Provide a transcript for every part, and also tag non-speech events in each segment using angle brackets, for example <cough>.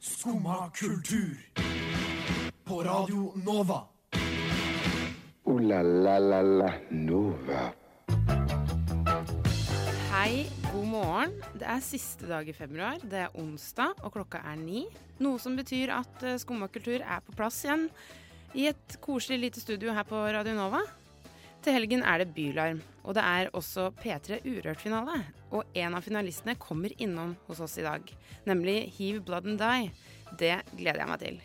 Skumma kultur. På Radio Nova. Ooh la la la la Nova. Hei, god morgen. Det er siste dag i februar. Det er onsdag, og klokka er ni. Noe som betyr at eh, Skumma kultur er på plass igjen i et koselig lite studio her på Radio Nova. Til helgen er det Bylarm, og det er også P3 Urørt-finale. Og en av finalistene kommer innom hos oss i dag, nemlig Hiv Blood and Die. Det gleder jeg meg til.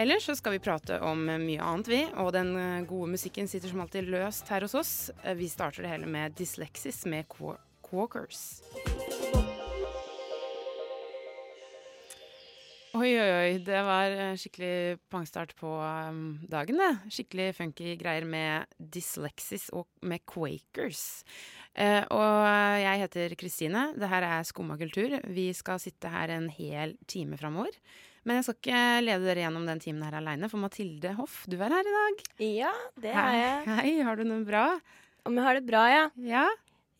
Ellers så skal vi prate om mye annet, vi. Og den eh, gode musikken sitter som alltid løst her hos oss. Eh, Vi starter det hele med Dyslexis med Qua- Quakers. Oi, oi, oi. Det var eh, skikkelig pangstart på um, dagen, det. Skikkelig funky greier med Dyslexis og med Quakers. Eh, og jeg heter Kristine. Det her er Skumma kultur. Vi skal sitte her en hel time framover. Men jeg skal ikke lede dere gjennom den timen her aleine, for Mathilde Hoff, du er her i dag. Ja, det har jeg. Hei, hei, har du noe bra? Om jeg har det bra, ja. Ja?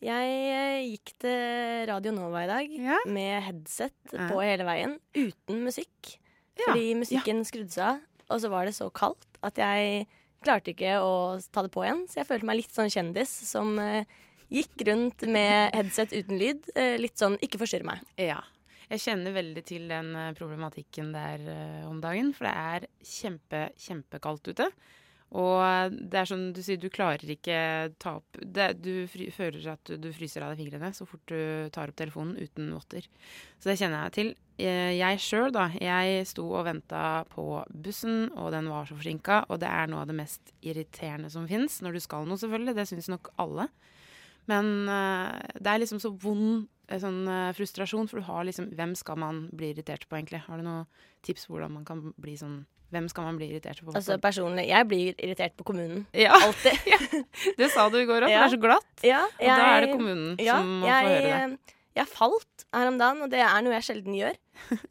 Jeg eh, gikk til Radio Nova i dag Ja. med headset Ja. på hele veien, uten musikk. Ja, Fordi musikken skrudde seg av, og så var det så kaldt at jeg klarte ikke å ta det på igjen. Så jeg følte meg litt sånn kjendis som eh, gikk rundt med headset uten lyd. eh, litt sånn ikke forstyrr meg. Ja. Jeg kjenner veldig til den eh, problematikken der eh, om dagen, for det er kjempe, kjempekaldt ute. Og det er som du sier, du klarer ikke ta opp det, Du fry, føler at du, du fryser av deg fingrene så fort du tar opp telefonen uten votter. Så det kjenner jeg til. Eh, Jeg sjøl, da. Jeg sto og venta på bussen, og den var så forsinka. Og det er noe av det mest irriterende som fins når du skal noe, selvfølgelig. Det syns nok alle. Men eh, det er liksom så vond eh, sånn, eh, frustrasjon, for du har liksom Hvem skal man bli irritert på, egentlig? Har du noen tips på hvordan man kan bli sånn Hvem skal man bli irritert på? Altså personlig, jeg blir irritert på <laughs> kommunen. ja, Alltid. det sa du i går òg, for det Ja. er så glatt. Ja, Og da er det jeg- kommunen Ja, som må jeg, få høre det. eh, jeg falt her om dagen, og det er noe jeg sjelden <laughs> gjør.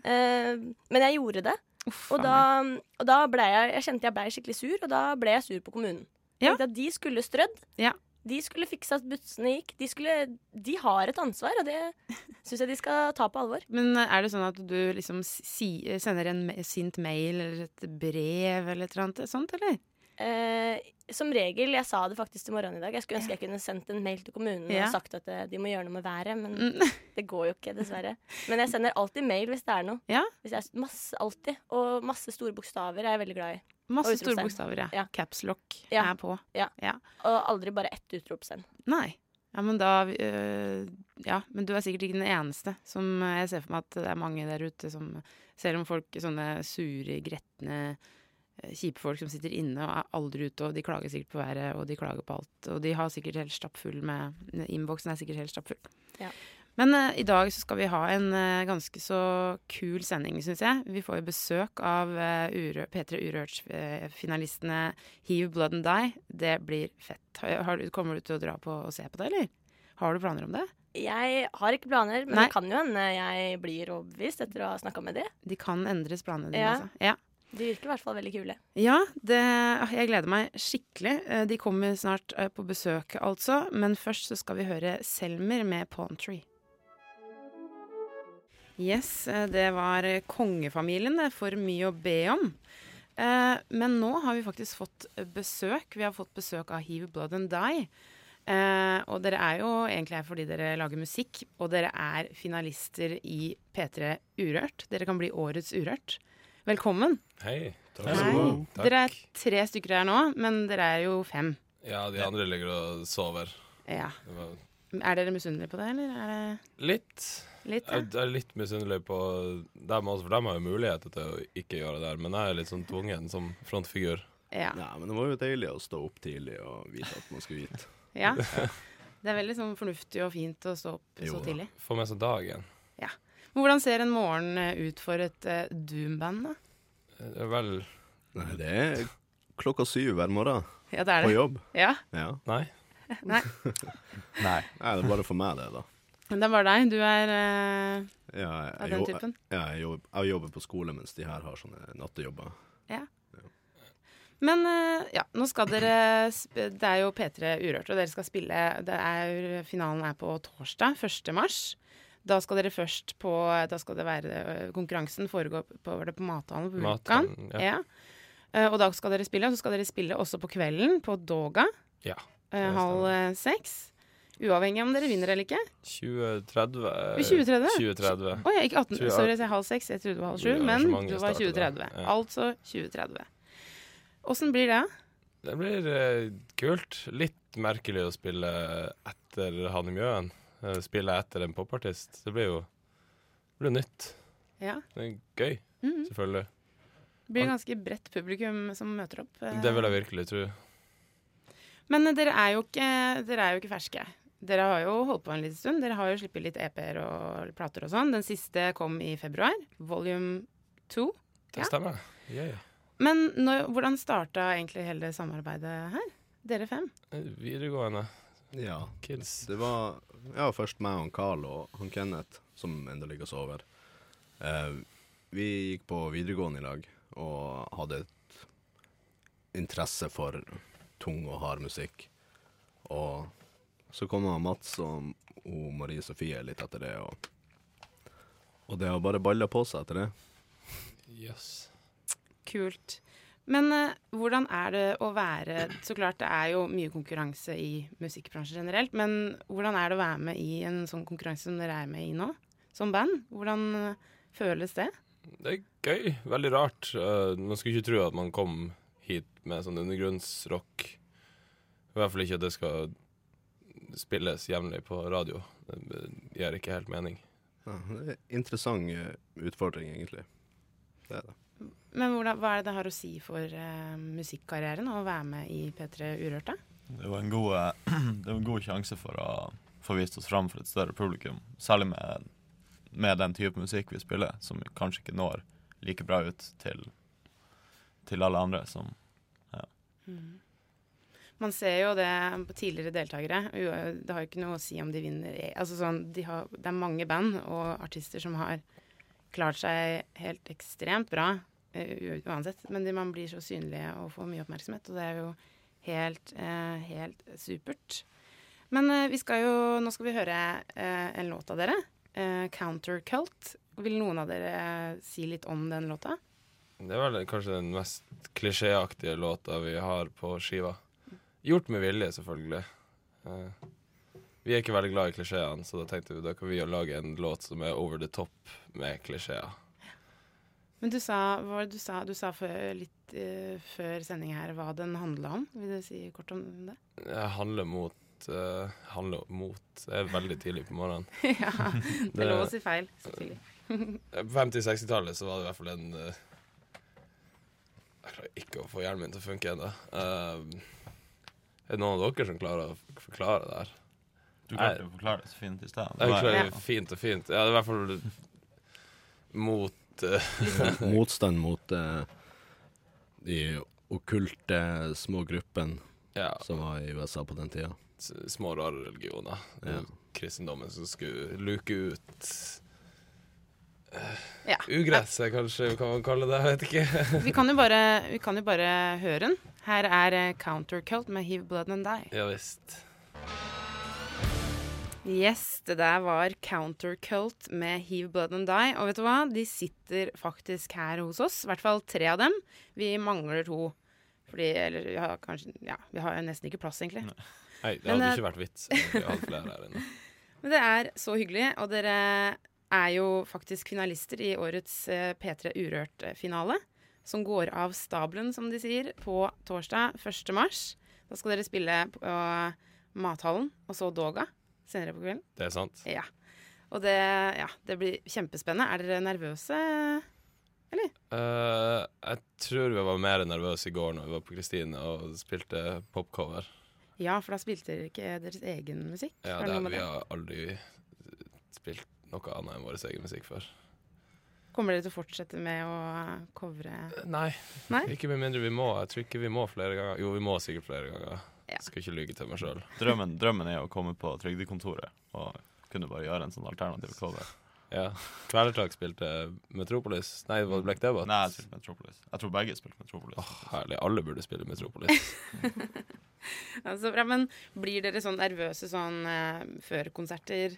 Eh, men jeg gjorde det, Uff, og faen da, meg. og da ble jeg, jeg kjente jeg ble skikkelig sur, og da ble jeg sur på kommunen. Ja. Jeg tenkte at de skulle strødd, Ja. de skulle fikse at bussene gikk, de, skulle, de har et ansvar, <laughs> og det syns jeg de skal ta på alvor. Men er det sånn at du liksom si, sender en me- sint mail eller et brev eller et eller annet sånt, eller? Eh, som regel, jeg sa det faktisk til morgenen i dag, jeg skulle ønske jeg kunne sendt en mail til kommunen Ja. og sagt at eh, de må gjøre noe med været, men Mm. <laughs> det går jo ikke, dessverre. Men jeg sender alltid mail hvis det er noe. Ja. Hvis det er masse, alltid. Og masse store bokstaver er jeg veldig glad i. Masse Og store utropstegn. bokstaver, ja. Ja. Caps lock Ja. er på. Og aldri bare ett utropstegn. Nei. Ja, men da øh, Ja, men du er sikkert ikke den eneste som øh, Jeg ser for meg at det er mange der ute som Selv om folk sånne sure, gretne øh, Kjipe folk som sitter inne og er aldri ute, og de klager sikkert på været, og de klager på alt. Og de har sikkert helt stappfull med eh, Innboksen er sikkert helt stappfull. Ja. Men øh, i dag så skal vi ha en øh, ganske så kul sending, syns jeg. Vi får jo besøk av øh, Urø- P3 eh, Urørt-finalistene Hiv Blood and Die, det blir fett. Har, har, du- kommer du til å dra på og se på det, eller? Har du planer om det? Jeg har ikke planer, men Nei. det kan jo hende jeg blir overbevist etter å ha snakka med de. De kan endres planene dine, Ja. altså. Ja. De virker i hvert fall veldig kule. Ja, det, ah, jeg gleder meg skikkelig. Eh, De kommer snart eh, på besøk, altså. Men først så skal vi høre Selmer med Palm Tree. Yes, eh, det var eh, kongefamilien. Det er for mye å be om. Eh, Men nå har vi faktisk fått eh, besøk. Vi har fått besøk av Hiv Blood and Die. Eh, og dere er jo egentlig her fordi dere lager musikk, og dere er finalister i P3 Urørt. Dere kan bli Årets Urørt. Velkommen. Hei. Takk. Hei. Hallo. Takk. Dere er tre stykker her nå, men dere er jo fem. Ja, de andre ligger og sover. Ja. Det var Er dere misunnelige på det, eller er det Litt. litt? Ja? Jeg jeg er litt misunnelig på dem også, for de har jo mulighet til å ikke gjøre det der. Men jeg er litt sånn tvungen som frontfigur. Ja. Nei, men det var jo deilig å stå opp tidlig og vite at man skulle hit. ja. Det er veldig sånn fornuftig og fint å stå opp Jo så da. tidlig. Få med seg dagen. Men hvordan ser en morgen eh, ut for et eh, doom-band, da? Det er Eh, Vel Nei, det er klokka syv hver morgen Ja, det er på det. jobb. Ja. Ja. Nei. Nei. Nei, det er bare for meg, det, da. Men det er bare deg. Du er eh, Ja, av jeg, den jo- typen. ja, jeg, jobber, jeg jobber på skole mens de her har sånne nattejobber. Men eh, ja, nå skal dere sp Det er jo P3 Urørt, og dere skal spille det er, Finalen er på torsdag, 1. mars. Da skal dere først på Da skal det være eh, Konkurransen foregår på, var det på Mathallen på Vulkan. Mathallen, Ja. ja. Eh, og da skal dere spille, og så skal dere spille også på kvelden på Doga Ja. eh, det halv eh, seks. Uavhengig av om dere vinner eller ikke. 2030 eh, 2030? 2030. Å ja, ikke 18. Mm. Tror jeg- Sorry, jeg sa halv seks. Jeg trodde det var halv sju, Ja, men arrangementet det var starter da. 2030. Ja. Altså 2030. Åssen blir det? Det blir eh, kult. Litt merkelig å spille etter Hanne Mjøen. Eh, Spille etter en popartist. Det blir jo det blir nytt. Ja. Det er gøy, Mhm. selvfølgelig. Det blir ganske bredt publikum som møter opp. eh. Det vil jeg virkelig tro. Men eh, dere er, jo ikke, dere er jo ikke ferske. Dere har jo holdt på en liten stund. Dere har jo sluppet litt EP-er og plater og sånn. Den siste kom i februar. Volume 2. Ja. Det stemmer. Ja, ja. Men når, hvordan starta egentlig hele samarbeidet her? Dere fem? Eh, Videregående Ja. kids. Det var ja, først meg og han Carl og han Kenneth, som enda ligger og sover. Eh, vi gikk på videregående i lag og hadde et interesse for tung og hard musikk. Og så kom han Mats og, og Marie Sofie litt etter det, og, og det har bare balla på seg etter det. Yes. Kult. Men eh, hvordan er det å være Så klart det er jo mye konkurranse i musikkbransjen generelt, men hvordan er det å være med i en sånn konkurranse som dere er med i nå, som band? Hvordan eh, føles det? Det er gøy. Veldig rart. Eh, man skulle ikke tro at man kom hit med sånn undergrunnsrock. I hvert fall ikke at det skal spilles jevnlig på radio. Det gir ikke helt mening. Ja, det er en interessant eh, utfordring, egentlig. Det er det. Men hvordan, hva er det det har å si for eh, musikkarrieren å være med i P3 Urørt, da? Det var en god, eh, <clears throat> det var en god sjanse for å få vist oss fram for et større publikum. Særlig med, med den type musikk vi spiller, som kanskje ikke når like bra ut til, til alle andre. Som, Man ser jo det på tidligere deltakere. u- Det har jo ikke noe å si om de vinner. e- Altså sånn, de har, det er mange band og artister som har klart seg helt ekstremt bra eh, u- uansett, men de, man blir så synlige og får mye oppmerksomhet, og det er jo helt, eh, helt supert. Men eh, vi skal jo, nå skal vi høre eh, en låt av dere, eh, Counter Cult. Vil noen av dere eh, si litt om den låta? Det er vel kanskje den mest klisjéaktige låta vi har på skiva. Gjort med vilje, selvfølgelig. Eh, vi er ikke veldig glad i klisjeene, så da tenkte vi da kan vi jo lage en låt som er over the top med klisjeer. Men du sa, hva var det du sa, du sa før, litt eh, før sending her hva den handla om. Vil du si kort om det? Jeg handler mot eh, Handler mot Det er veldig tidlig på morgenen. <laughs> ja, det er lov å si feil. så tidlig. På 50-60-tallet så var det i hvert fall en eh, Jeg klarer ikke å få hjernen min til å funke ennå. Eh, er det noen av dere som klarer å f- forklare det her? du Nei. klarte å forklare det så fint i sted. Jeg Det var- klarer fint og fint. Ja, det er i hvert fall mot eh, <laughs> motstand mot eh, de okkulte små gruppene ja, som var i USA på den tida. s- små, rare religioner. Ja. Kristendommen som skulle luke ut eh, Ja. ugresset, kanskje kan man kalle det. Jeg vet <laughs> ikke. <laughs> Vi kan jo bare, vi kan jo bare høre den. Her er eh, Counter Cult med Hiv Blood and Die. Ja visst. Yes, det der var Countercult med Hiv Blood and Die. Og vet du hva? De sitter faktisk her hos oss. I hvert fall tre av dem. Vi mangler to. Fordi, eller vi har kanskje Ja, vi har jo nesten ikke plass, egentlig. Nei, det Men, hadde eh, ikke vært vits. egentlig, å ha flere her inne. Men det er så hyggelig, og dere er jo faktisk finalister i årets eh, P3 Urørt-finale, som går av stabelen, som de sier, på torsdag 1. mars. Da skal dere spille på eh, Mathallen, og så Doga senere på kvelden. Det er sant. Ja. Og det, ja, det blir kjempespennende. Er dere nervøse? Eh, jeg tror vi var mer nervøse i går når vi var på Kristine og spilte popcover. Ja, for da spilte dere ikke deres egen musikk. Ja, Var det, det noe med vi det? har aldri spilt noe annet enn vår egen musikk før. Kommer dere til å fortsette med å covre Nei. Nei? Ikke med mindre vi må. Jeg tror ikke vi må flere ganger. Jo, vi må sikkert flere ganger. Ja. Skal ikke lyge til meg sjøl. drømmen, drømmen er å komme på Trygdekontoret og kunne bare gjøre en sånn alternativ cover. Ja. Kvelertak spilte Metropolis. Nei, det var Black Debate. Nei, jeg spilte Metropolis. Jeg tror begge spilte Metropolis. Ah. Herlig. Alle burde spille Metropolis. Ja, så bra, men blir dere sånn nervøse sånn eh, før konserter?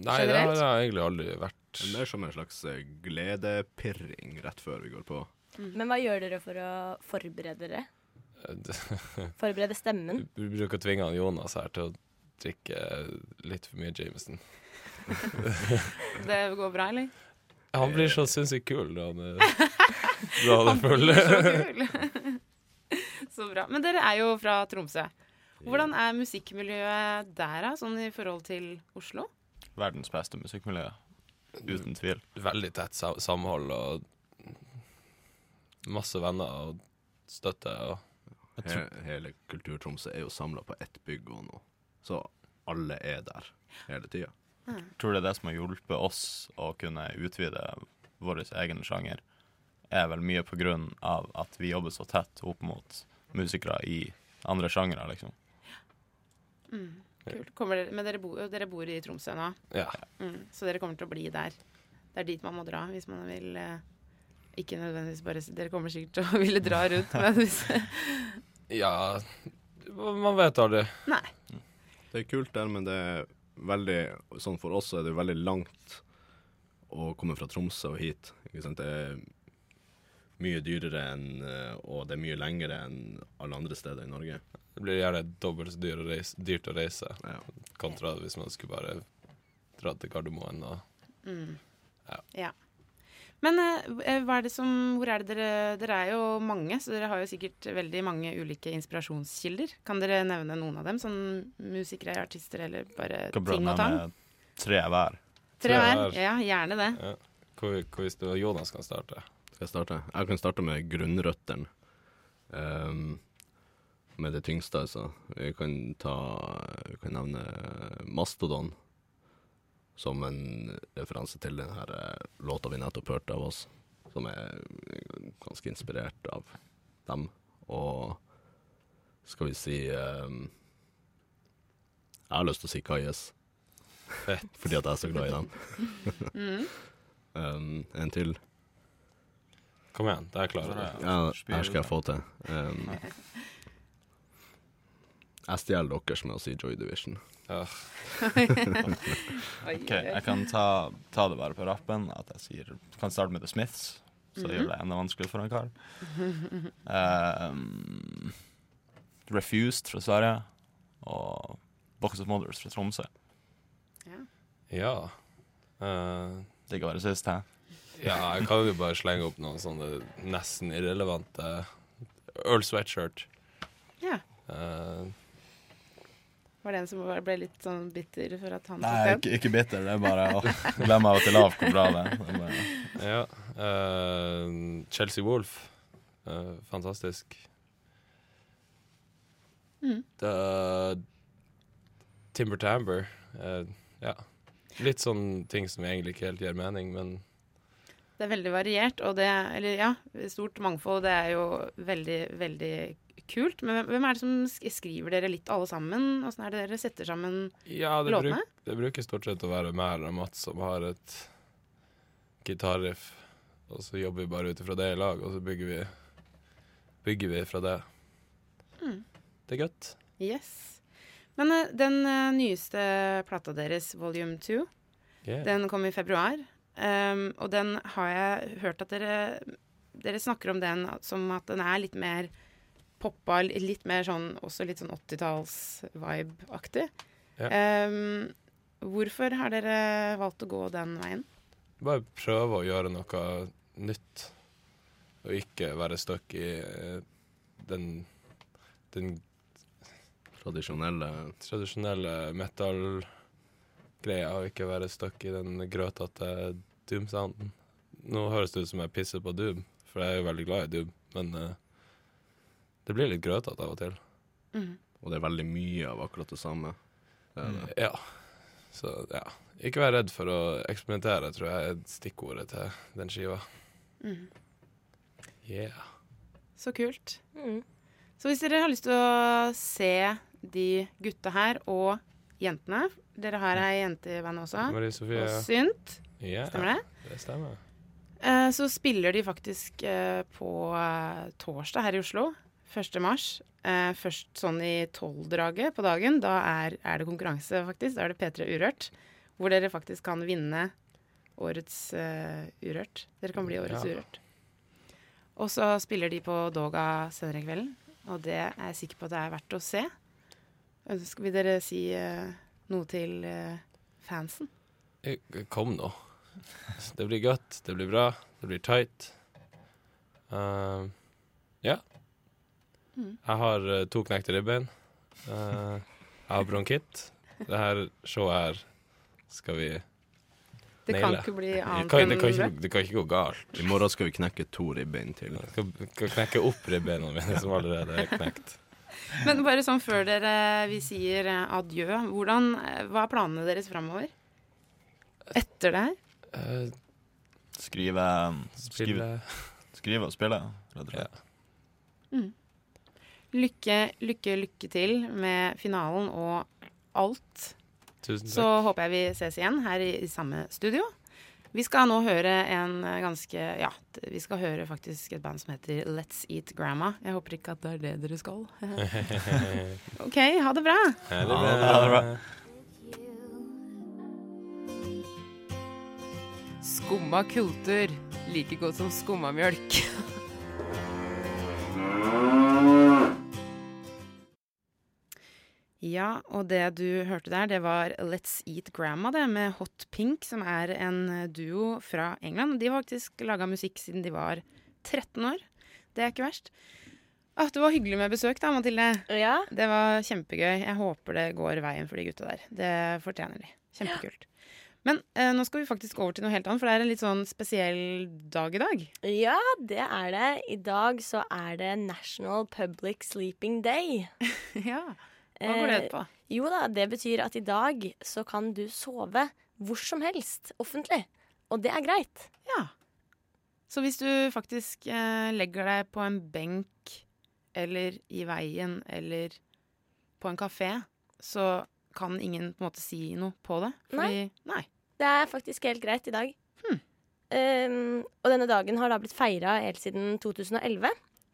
Nei, det har jeg egentlig aldri vært. Men det er som en slags eh, gledepirring rett før vi går på. Mm. Men hva gjør dere for å forberede dere? Det- Forberede stemmen? Vi bruker å tvinge han Jonas her til å drikke litt for mye Jameson. Det går bra, eller? Han blir så sinnssykt kul når han er, når han er full. Så kul. <laughs> Så bra. Men dere er jo fra Tromsø. Hvordan er musikkmiljøet der, da, sånn i forhold til Oslo? Verdens beste musikkmiljø. Uten tvil. Veldig tett sa- samhold og masse venner og støtte. Og He hele Kultur-Tromsø er jo samla på ett bygg og nå, så alle er der hele tida. tror det er det som har hjulpet oss å kunne utvide vår egen sjanger, er vel mye på grunn av at vi jobber så tett opp mot musikere i andre sjangere, liksom. Mm, kult. Kommer dere, men dere bor, dere bor i Tromsø nå, ja. mm, så dere kommer til å bli der. Det er dit man må dra hvis man vil eh, Ikke nødvendigvis bare Dere kommer sikkert til å <laughs> ville dra rundt, men hvis <laughs> ja Man vet aldri. Det er kult der, men det er veldig Sånn for oss er det veldig langt å komme fra Tromsø og hit. Ikke sant? Det er mye dyrere enn eh, Og det er mye lengre enn alle andre steder i Norge. Det blir gjerne dobbelt så dyr å reise, dyrt å reise Ja. kontra hvis man skulle bare dra til Gardermoen. Og mm. Ja. Ja. Men eh, hva er det som Hvor er det dere Dere er jo mange, så dere har jo sikkert veldig mange ulike inspirasjonskilder. Kan dere nevne noen av dem? Sånn musikere, artister eller bare Kan bra ting og tang? nevne tre hver. tre Tre hver. hver. Ja, gjerne det. hvor, hvor hvis du og Jonas kan starte? Skal jeg starte? Jeg kan starte med grunnrøttene. Ehm, med det tyngste, altså. Vi kan ta Vi kan nevne Mastodon som en referanse til den her eh, låta vi nettopp hørte av oss, som er ganske inspirert av dem. Og skal vi si ehm, Jeg har lyst til å si Kajes, Fett. <laughs> fordi at jeg er så glad i dem. Mm. Ehm, en til. Kom igjen, det er jeg klar over. Ja, det her skal jeg få til. Um, jeg stjeler deres med å si Joy Division. Oi, Ok, jeg kan ta, ta det bare på rappen, at jeg sier, kan starte med The Smiths, så gjør det enda vanskeligere for en kar. Ehm, Refused fra Sverige, og Box of Mothers fra Tromsø. Ja. Eh, Det kan være sist, hæ? ja, jeg kan jo bare slenge opp noen sånne nesten irrelevante Earl Sweatshirt. Ja. Eh, Var det en som var- ble litt sånn bitter for at han Nei, tok den? ikke, ikke bitter. Det er bare å glemme av og til av hvor bra det er. Det er bare, ja. eh, Chelsea Wolf. Eh, fantastisk. Mm. Det- Timber Tamber. eh, ja. Litt sånn ting som egentlig ikke helt gir mening, men Det er veldig variert, og det Eller ja, stort mangfold. Det er jo veldig, veldig kult. Men hvem- hvem er det som sk- skriver dere litt alle sammen? Åssen er det dere setter sammen Ja, det, låtene? bruk, det bruker stort sett å være meg eller Mats som har et gitarriff, og så jobber vi bare ut ifra det i lag, og så bygger vi, bygger vi fra det. Mm. Det er godt. Yes. Men eh, den eh, nyeste plata deres, Volume 2, Yeah. den kom i februar. Ehm, og den har jeg hørt at dere Dere snakker om den som at den er litt mer poppa, litt mer sånn også litt sånn 80-talls-vibe-aktig. Ja. Ehm, hvorfor har dere valgt å gå den veien? Bare prøve å gjøre noe nytt, og ikke være stuck i eh, den, den Tradisjonelle tradisjonelle metal-greia, og ikke være stuck i den grøtete doom-sounden. Nå høres det ut som jeg pisser på doom, for jeg er jo veldig glad i doom, men eh, det blir litt grøtete av og til. Mm, Og det er veldig mye av akkurat det samme. Det er det. Ja. Så ja. Ikke vær redd for å eksperimentere, tror jeg er stikkordet til den skiva. Mm. Yeah. Så kult. Mm. Så hvis dere har lyst til å se de gutta her, og jentene Dere har ei jente i bandet også. Marie Sofie. Og synt. Yeah, Stemmer det? Det stemmer. Eh, Så spiller de faktisk eh, på eh, torsdag her i Oslo, 1. mars. Eh, Først sånn i tolvdraget på dagen. Da er, er det konkurranse, faktisk. Da er det P3 Urørt. hvor dere faktisk kan vinne årets eh, Urørt. Dere kan bli årets Ja. Urørt. Og så spiller de på Doga senere i kvelden, og det er jeg sikker på at det er verdt å se. Ønsker, vil dere si eh, noe til eh, fansen? Eh, Kom nå. Det blir godt, det blir bra, det blir tight. Ehm, ja. Mm. Jeg har eh, to knekte ribbein. Eh, jeg har bronkitt. Det her showet her skal vi Det kan Naile. ikke bli det annet kan, det, enn kan bra. ikke, det kan ikke gå galt. I morgen skal vi knekke to ribbein til. Jeg skal, skal knekke opp ribbeina mine, som allerede er knekt. Men bare sånn før dere vi sier eh, adjø, hvordan, eh, hva er planene deres framover? Etter det her? Eh, Skrive, skrive, spille skrive og spille, rett og slett. Lykke, lykke, lykke til med finalen og alt. Tusen Så takk. håper jeg vi ses igjen her i, i samme studio. Vi skal nå høre en eh, ganske Ja, t- vi skal høre faktisk et band som heter Let's Eat Grandma. Jeg håper ikke at det er det dere skal. <laughs> OK, ha det bra. Ha det Ja, bra. ha det bra. Skumma kultur, like godt som skumma mjølk. <laughs> Ja, og det du hørte der, det var Let's Eat Grandma, det, med Hot Pink, som er en eh, duo fra England. De har faktisk laga musikk siden de var 13 år. Det er ikke verst. Ah, det var hyggelig med besøk, da, Mathilde. Ja, Det var kjempegøy. Jeg håper det går veien for de gutta der. Det fortjener de. Kjempekult. Men eh, nå skal vi faktisk over til noe helt annet, for det er en litt sånn spesiell dag i dag. ja, det er det. I dag så er det National Public Sleeping Day. <laughs> Eh, ja. Eh, Hva går det ut på? Jo da, det betyr at i dag så kan du sove hvor som helst offentlig. Og det er greit. Ja. Så hvis du faktisk eh, legger deg på en benk eller i veien eller på en kafé, så kan ingen på en måte si noe på det. Fordi, nei. Det er faktisk helt greit i dag. Hmm. Um, og denne dagen har da blitt feira helt siden 2011.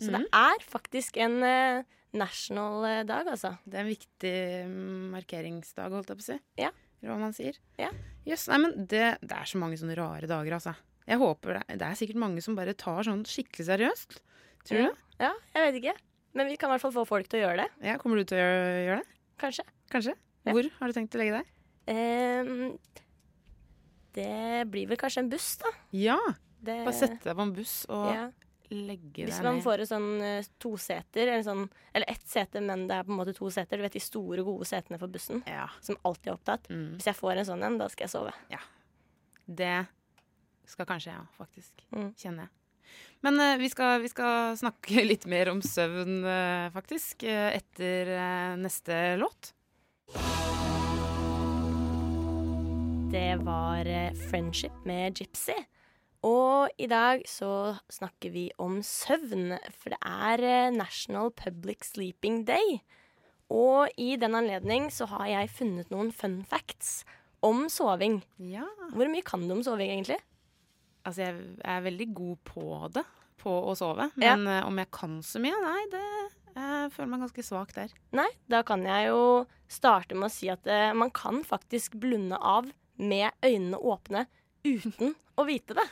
Så Mhm. det er faktisk en eh, national eh, dag, altså. Det er en viktig mm, markeringsdag, holdt jeg på å si. Ja. Eller hva man sier. Ja. Jøss, nei, men det, det er så mange sånne rare dager, altså. Jeg håper det, det er sikkert mange som bare tar sånn skikkelig seriøst. Tror du det? Ja, jeg vet ikke. Men vi kan i hvert fall få folk til å gjøre det, Ja, kommer du til å gjøre, gjøre det? kanskje. Kanskje? Ja. Hvor har du tenkt å legge deg? Um, det blir vel kanskje en buss, da. Ja! Det, Bare sette deg på en buss og Eh, ja. legge Hvis deg man ned. får et sånn eh, toseter, eller, sånn, eller ett sete, men det er på en måte to seter. Du vet de store, gode setene for bussen, Ja. som alltid er opptatt. Mm. Hvis jeg får en sånn en, da skal jeg sove. Det skal kanskje jeg òg, faktisk. Mm. Kjenner jeg. Men eh, vi, skal, vi skal snakke <laughs> litt mer om søvn, eh, faktisk, eh, etter eh, neste låt. Det var eh, 'Friendship' med Gypsy. Og i dag så snakker vi om søvn, for det er eh, National Public Sleeping Day. Og i den anledning så har jeg funnet noen fun facts om soving. Ja. Hvor mye kan du om soving, egentlig? Altså, jeg er veldig god på det, på å sove. Ja. Men eh, om jeg kan så mye? Nei, det jeg føler meg ganske svak der. Nei, da kan jeg jo starte med å si at eh, man kan faktisk blunde av med øynene åpne uten å vite det.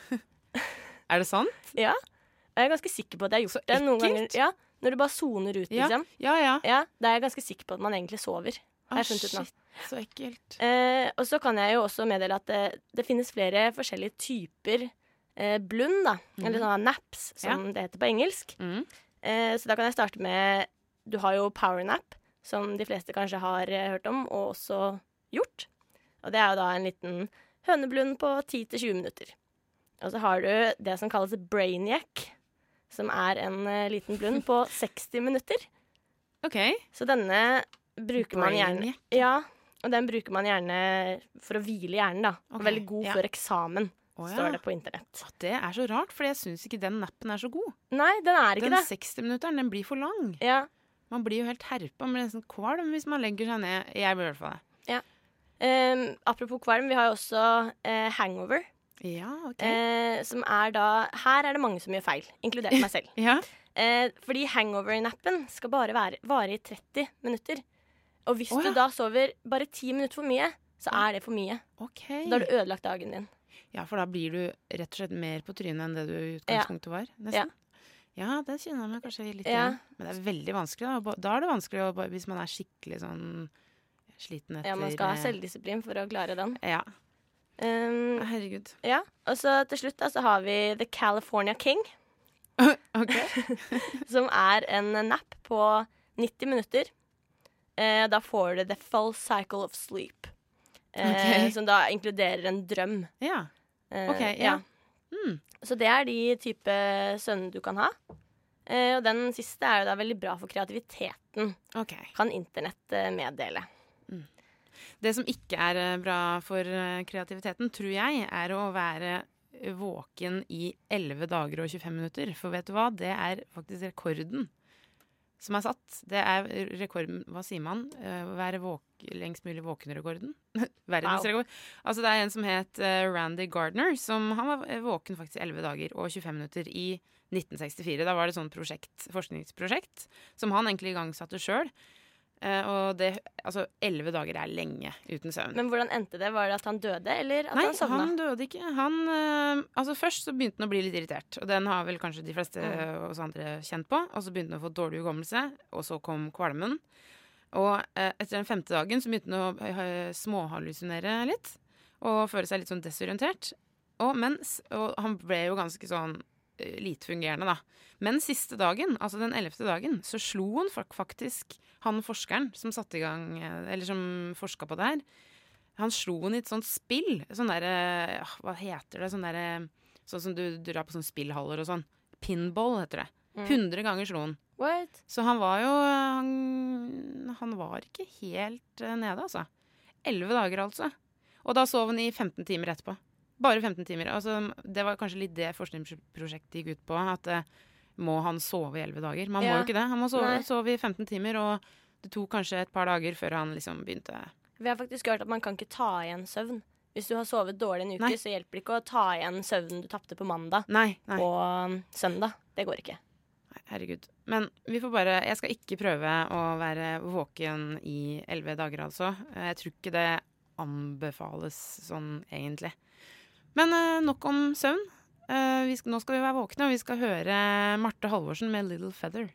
Er det sånn? Ja. Og jeg er ganske sikker på at jeg har Så gjort det noen ganger. ekkelt. Ja, når du bare soner ut, Ja. liksom. Ja ja. Ja, da er jeg ganske sikker på at man egentlig sover. Har Ah, jeg funnet ut nå. shit, så ekkelt. Eh, og så kan jeg jo også meddele at det, det finnes flere forskjellige typer eh, blund, da. Eller sånne naps, som det heter på engelsk. Mhm. Eh, så da kan jeg starte med Du har jo powernap, som de fleste kanskje har eh, hørt om, og også gjort. Og det er jo da en liten høneblund på 10-20 minutter. Og så har du det som kalles brainiac, som er en eh, liten blund <laughs> på 60 minutter. OK. Så denne bruker man gjerne Brainiac. Ja, og den bruker man gjerne for å hvile hjernen, da. Og Ok, Veldig god ja. før eksamen, Å, ja. står det på internett. Å, Det er så rart, for jeg syns ikke den nappen er så god. Nei, den er ikke Den det. 60-minutteren, den blir for lang. Ja, Man blir jo helt herpa, men nesten kvalm hvis man legger seg ned. Jeg blir i hvert fall det. Ehm, apropos kvalm, vi har jo også eh, hangover. Ja, ok. eh, som er da Her er det mange som gjør feil, inkludert meg <laughs> selv. ja. Eh, fordi hangover-nappen skal bare være, vare i 30 minutter. Og hvis Å, ja. du da sover bare 10 minutter for mye, så er det for mye. Ok. Så da har du ødelagt dagen din. Ja, for da blir du rett og slett mer på trynet enn det du i utgangspunktet var. Nesten. Ja. det kjenner jeg meg kanskje litt Ja. igjen. Men det er veldig vanskelig. Da, Ba- da er det vanskelig å, ba- hvis man er skikkelig sånn sliten etter Ja, man skal ha eh, selvdisiplin for å klare den. Ja. Um, Herregud. ja. Og så til slutt da, så har vi The California King. <laughs> som er en nap på 90 minutter. Eh, da får du The Full Cycle of Sleep. Eh, Ok. Som da inkluderer en drøm. <laughs> Ja. Mm, Eh, Ok, ja. Så det er de type søvner du kan ha. Eh, og den siste er jo da veldig bra for kreativiteten, Ok. kan internett eh, meddele. Det som ikke er eh, bra for eh, kreativiteten, tror jeg, er å være våken i 11 dager og 25 minutter. For vet du hva? Det er faktisk rekorden som er satt. Det er rekorden Hva sier man? Eh, Å være våk, lengst mulig våken-rekorden? <laughs> Verdensrekord. Altså, det er en som het eh, Randy Gardner, som han var eh, våken faktisk 11 dager og 25 minutter i 1964. Da var det sånn prosjekt, forskningsprosjekt som han egentlig igangsatte sjøl. Eh, og det Altså, elleve dager er lenge uten søvn. Men hvordan endte det? Var det at han døde, eller at Nei, han sovna? døde ikke. Han eh, Altså, først så begynte han å bli litt irritert, og den har vel kanskje de fleste Mm. eh, oss andre kjent på. Og så begynte han å få dårlig hukommelse, og så kom kvalmen. Og eh, etter den femte dagen så begynte han å eh, småhallusinere litt, og føle seg litt sånn desorientert. Og, mens, og han ble jo ganske sånn eh, lite fungerende, da. Men siste dagen, altså den ellevte dagen, så slo han fak- faktisk han forskeren som satte i gang eh, Eller som forska på det her. Han slo han i et sånt spill. Sånn derre ah, Hva heter det? Sånn derre Sånn som du drar på sånne spillhaller og sånn. Pinball heter det. Mm. 100 ganger slo han. What? Så han var jo Han, han var ikke helt eh, nede, altså. 11 dager, altså. Og da sov han i 15 timer etterpå. Bare 15 timer. Altså, det var kanskje litt det forskningsprosjektet gikk ut på. At eh, må han sove i 11 dager? Man må Ja. jo ikke det. Han må sove, Nei. sove i 15 timer, og det tok kanskje et par dager før han liksom begynte Vi har faktisk hørt at man kan ikke ta igjen søvn. Hvis du har sovet dårlig en uke, Nei. så hjelper det ikke å ta igjen søvnen du tapte på mandag Nei, nei. og um, søndag. Det går ikke. Herregud. Men vi får bare Jeg skal ikke prøve å være våken i elleve dager, altså. Eh, Jeg tror ikke det anbefales sånn, egentlig. Men eh, nok om søvn. Eh, vi skal, nå skal vi være våkne, og vi skal høre Marte Halvorsen med 'Little Feather'.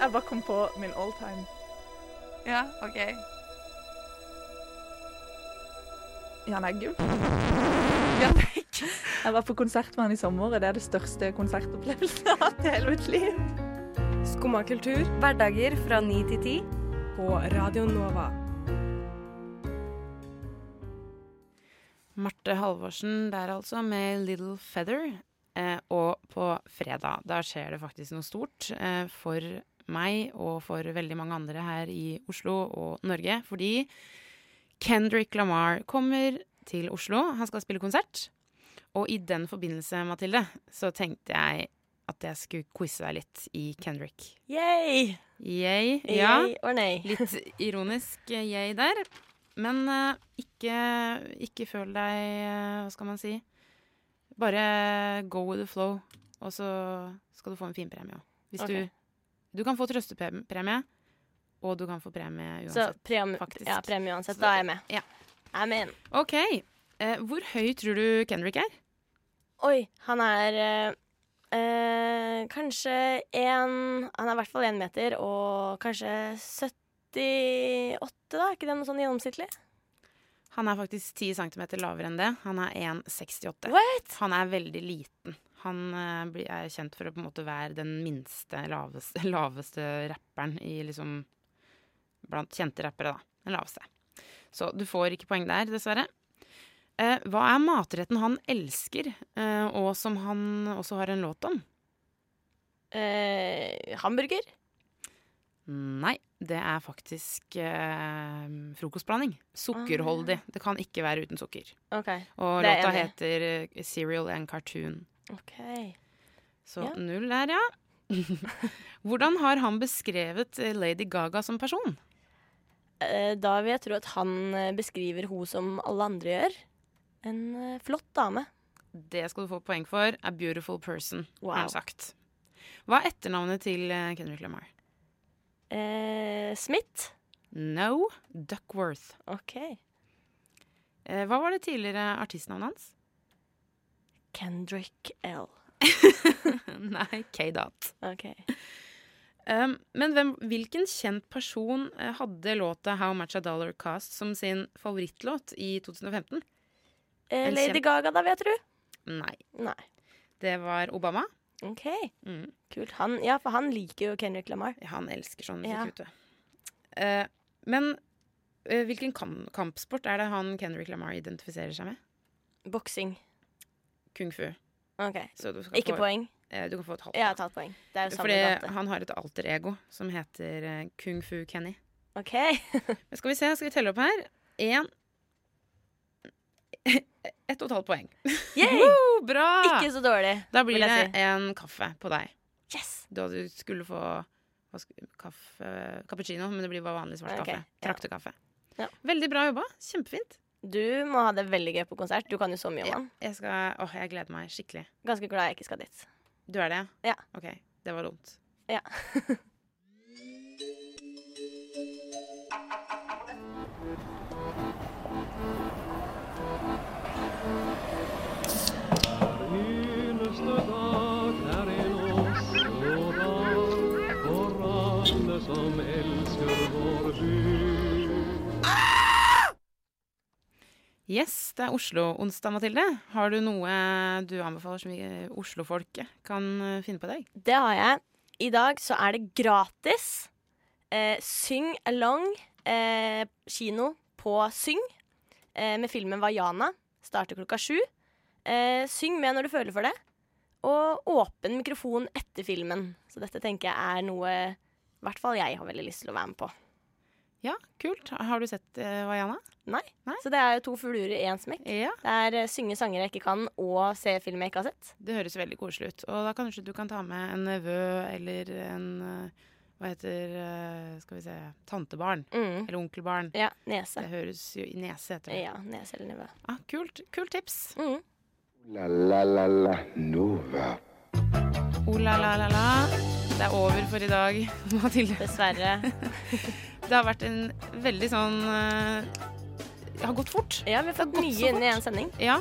Jeg bare kom på min alltime. Ja, OK. Jan <laughs> Eggum. Jan Eggum. Jeg var på konsert med han i sommer, og det er det største konsertopplevelsen jeg har hatt i hele mitt liv. Skumma kultur. Hverdager fra ni til ti. På Radio Nova. Marte Halvorsen der altså, med 'Little Feather'. Eh, og på fredag, da skjer det faktisk noe stort eh, for meg og for veldig mange andre her i Oslo og Norge. Fordi Kendrick Lamar kommer til Oslo. Han skal spille konsert. Og i den forbindelse, Mathilde, så tenkte jeg at jeg skulle quize deg litt i Kendrick. Yay! Yay, Yay ja. or nay? Litt ironisk eh, yay der. Men eh, ikke, ikke føl deg eh, Hva skal man si? Bare go with the flow, og så skal du få en fin premie òg. Hvis Ok. du Du kan få trøstepremie, og du kan få premie Så uansett. premie, faktisk. ja, premie uansett, da er jeg med. Ja. Jeg er med inn. OK. Eh, hvor høy tror du Kendrick er? Oi, han er eh, eh, kanskje en Han er i hvert fall én meter og kanskje 78, da? Er ikke det noe sånn gjennomsnittlig? Han er faktisk 10 cm lavere enn det. Han er 1,68. Han er veldig liten. Han eh, blir- er kjent for å på en måte være den minste, laveste, <laughs> laveste rapperen i liksom Blant kjente rappere, da. Den laveste. Så du får ikke poeng der, dessverre. Eh, hva er matretten han elsker, eh, og som han også har en låt om? Eh, hamburger? Nei, det er faktisk eh, frokostblanding. Sukkerholdig. Det kan ikke være uten sukker. OK. Og det er jeg låta enig i. heter eh, 'Serial and Cartoon'. Ok. Så Ja. null der, ja. <laughs> Hvordan har han beskrevet eh, Lady Gaga som person? Eh, Da vil jeg tro at han eh, beskriver hun som alle andre gjør. En eh, flott dame. det skal du få poeng for, A Beautiful Person, Wow. har han sagt. Hva er etternavnet til eh, Kendrick Lamar? Eh, Smith? No. Duckworth. Ok. Eh, hva var det tidligere artistnavnet hans? <laughs> Kendrick L. Nei, K-Dot. <laughs> Ok. Eh, Um, men hvem, hvilken kjent person eh, hadde låta How Much A Dollar Cost som sin favorittlåt i 2015? Eh, En Lady kjem- Gaga, da, vet du? Nei. Nei. Det var Obama. Mm. Ok. Kult. Han, ja, for han liker jo Kendrick Lamar. Han elsker sånn Ja. musikk, vet du. Eh, men eh, hvilken kam kampsport er det han Kendrick Lamar identifiserer seg med? Boksing. Kung fu. Ok. Så du skal Ikke få- poeng. eh, du kan få et halvt. Jeg har tatt poeng. Det er jo samme Fordi gate. han har et alter ego som heter eh, Kung Fu Kenny. Ok. Men skal vi se, skal vi telle opp her? Én Ett og <laughs> et halvt poeng. Oh, Woo, bra! Ikke så dårlig, Da blir vil det jeg si. en kaffe på deg. Yes! Da du skulle få hva sk- kaffe, cappuccino, men det blir bare vanlig svart Ok, kaffe. ja. Traktekaffe. Veldig bra jobba. Kjempefint. Du må ha det veldig gøy på konsert. Du kan jo så mye om han. Jeg, skal, åh, jeg gleder meg skikkelig. Ganske glad jeg ikke skal dit. Du er det? Ja. OK. Det var dumt. Ja. Yes, det er Oslo-onsdag, Mathilde. Har du noe du anbefaler som vi Oslo-folket kan eh, finne på i dag? Det har jeg. I dag så er det gratis. Eh, syng along eh, kino på Syng eh, med filmen Vaiana. Starter klokka sju. Eh, syng med når du føler for det. Og åpen mikrofon etter filmen. Så dette tenker jeg er noe i hvert fall jeg har veldig lyst til å være med på. Ja, kult. Har du sett eh, Vaiana? Nei. Så det er jo to fluer i én smekk. Det er eh, synge sanger jeg ikke kan, og se film jeg ikke har sett. Det høres veldig koselig ut. Og da kanskje du kan ta med en nevø eller en eh, Hva heter eh, Skal vi se Tantebarn. Mm. Eller onkelbarn. Ja, nese. Det høres jo Nese heter det. Ja, nese eller nevø. Mm. Ah, kult, kult tips. La la la la Nova. Oh la la la la. Det er over for i dag, <laughs> Mathilde. Dessverre. det har vært en veldig sånn eh, Det har gått fort. Ja, vi har fått mye inn i en sending. Ja.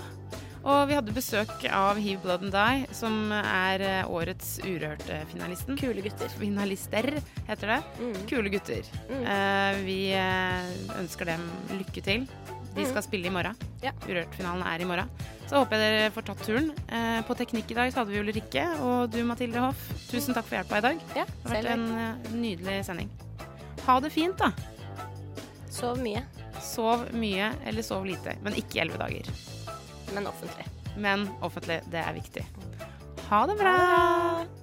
Og vi hadde besøk av Hiv Blood and Die, som er eh, årets Urørte-finalisten. Kule gutter. Mm. Finalister, heter det. Kule gutter. Eh, vi eh, ønsker dem lykke til. De skal Mm. spille i morgen. Ja. Urørt-finalen er i morgen. Så håper jeg dere får tatt turen. Eh, på teknikk i dag så hadde vi Ulrikke og du, Mathilde Hoff. Tusen takk for hjelpa i dag. Ja, det har vært selv en eh, nydelig sending. Ha det fint, da. Sov mye. Sov mye eller sov lite, men ikke i elleve dager. Men offentlig. Men offentlig, det er viktig. Ha det bra!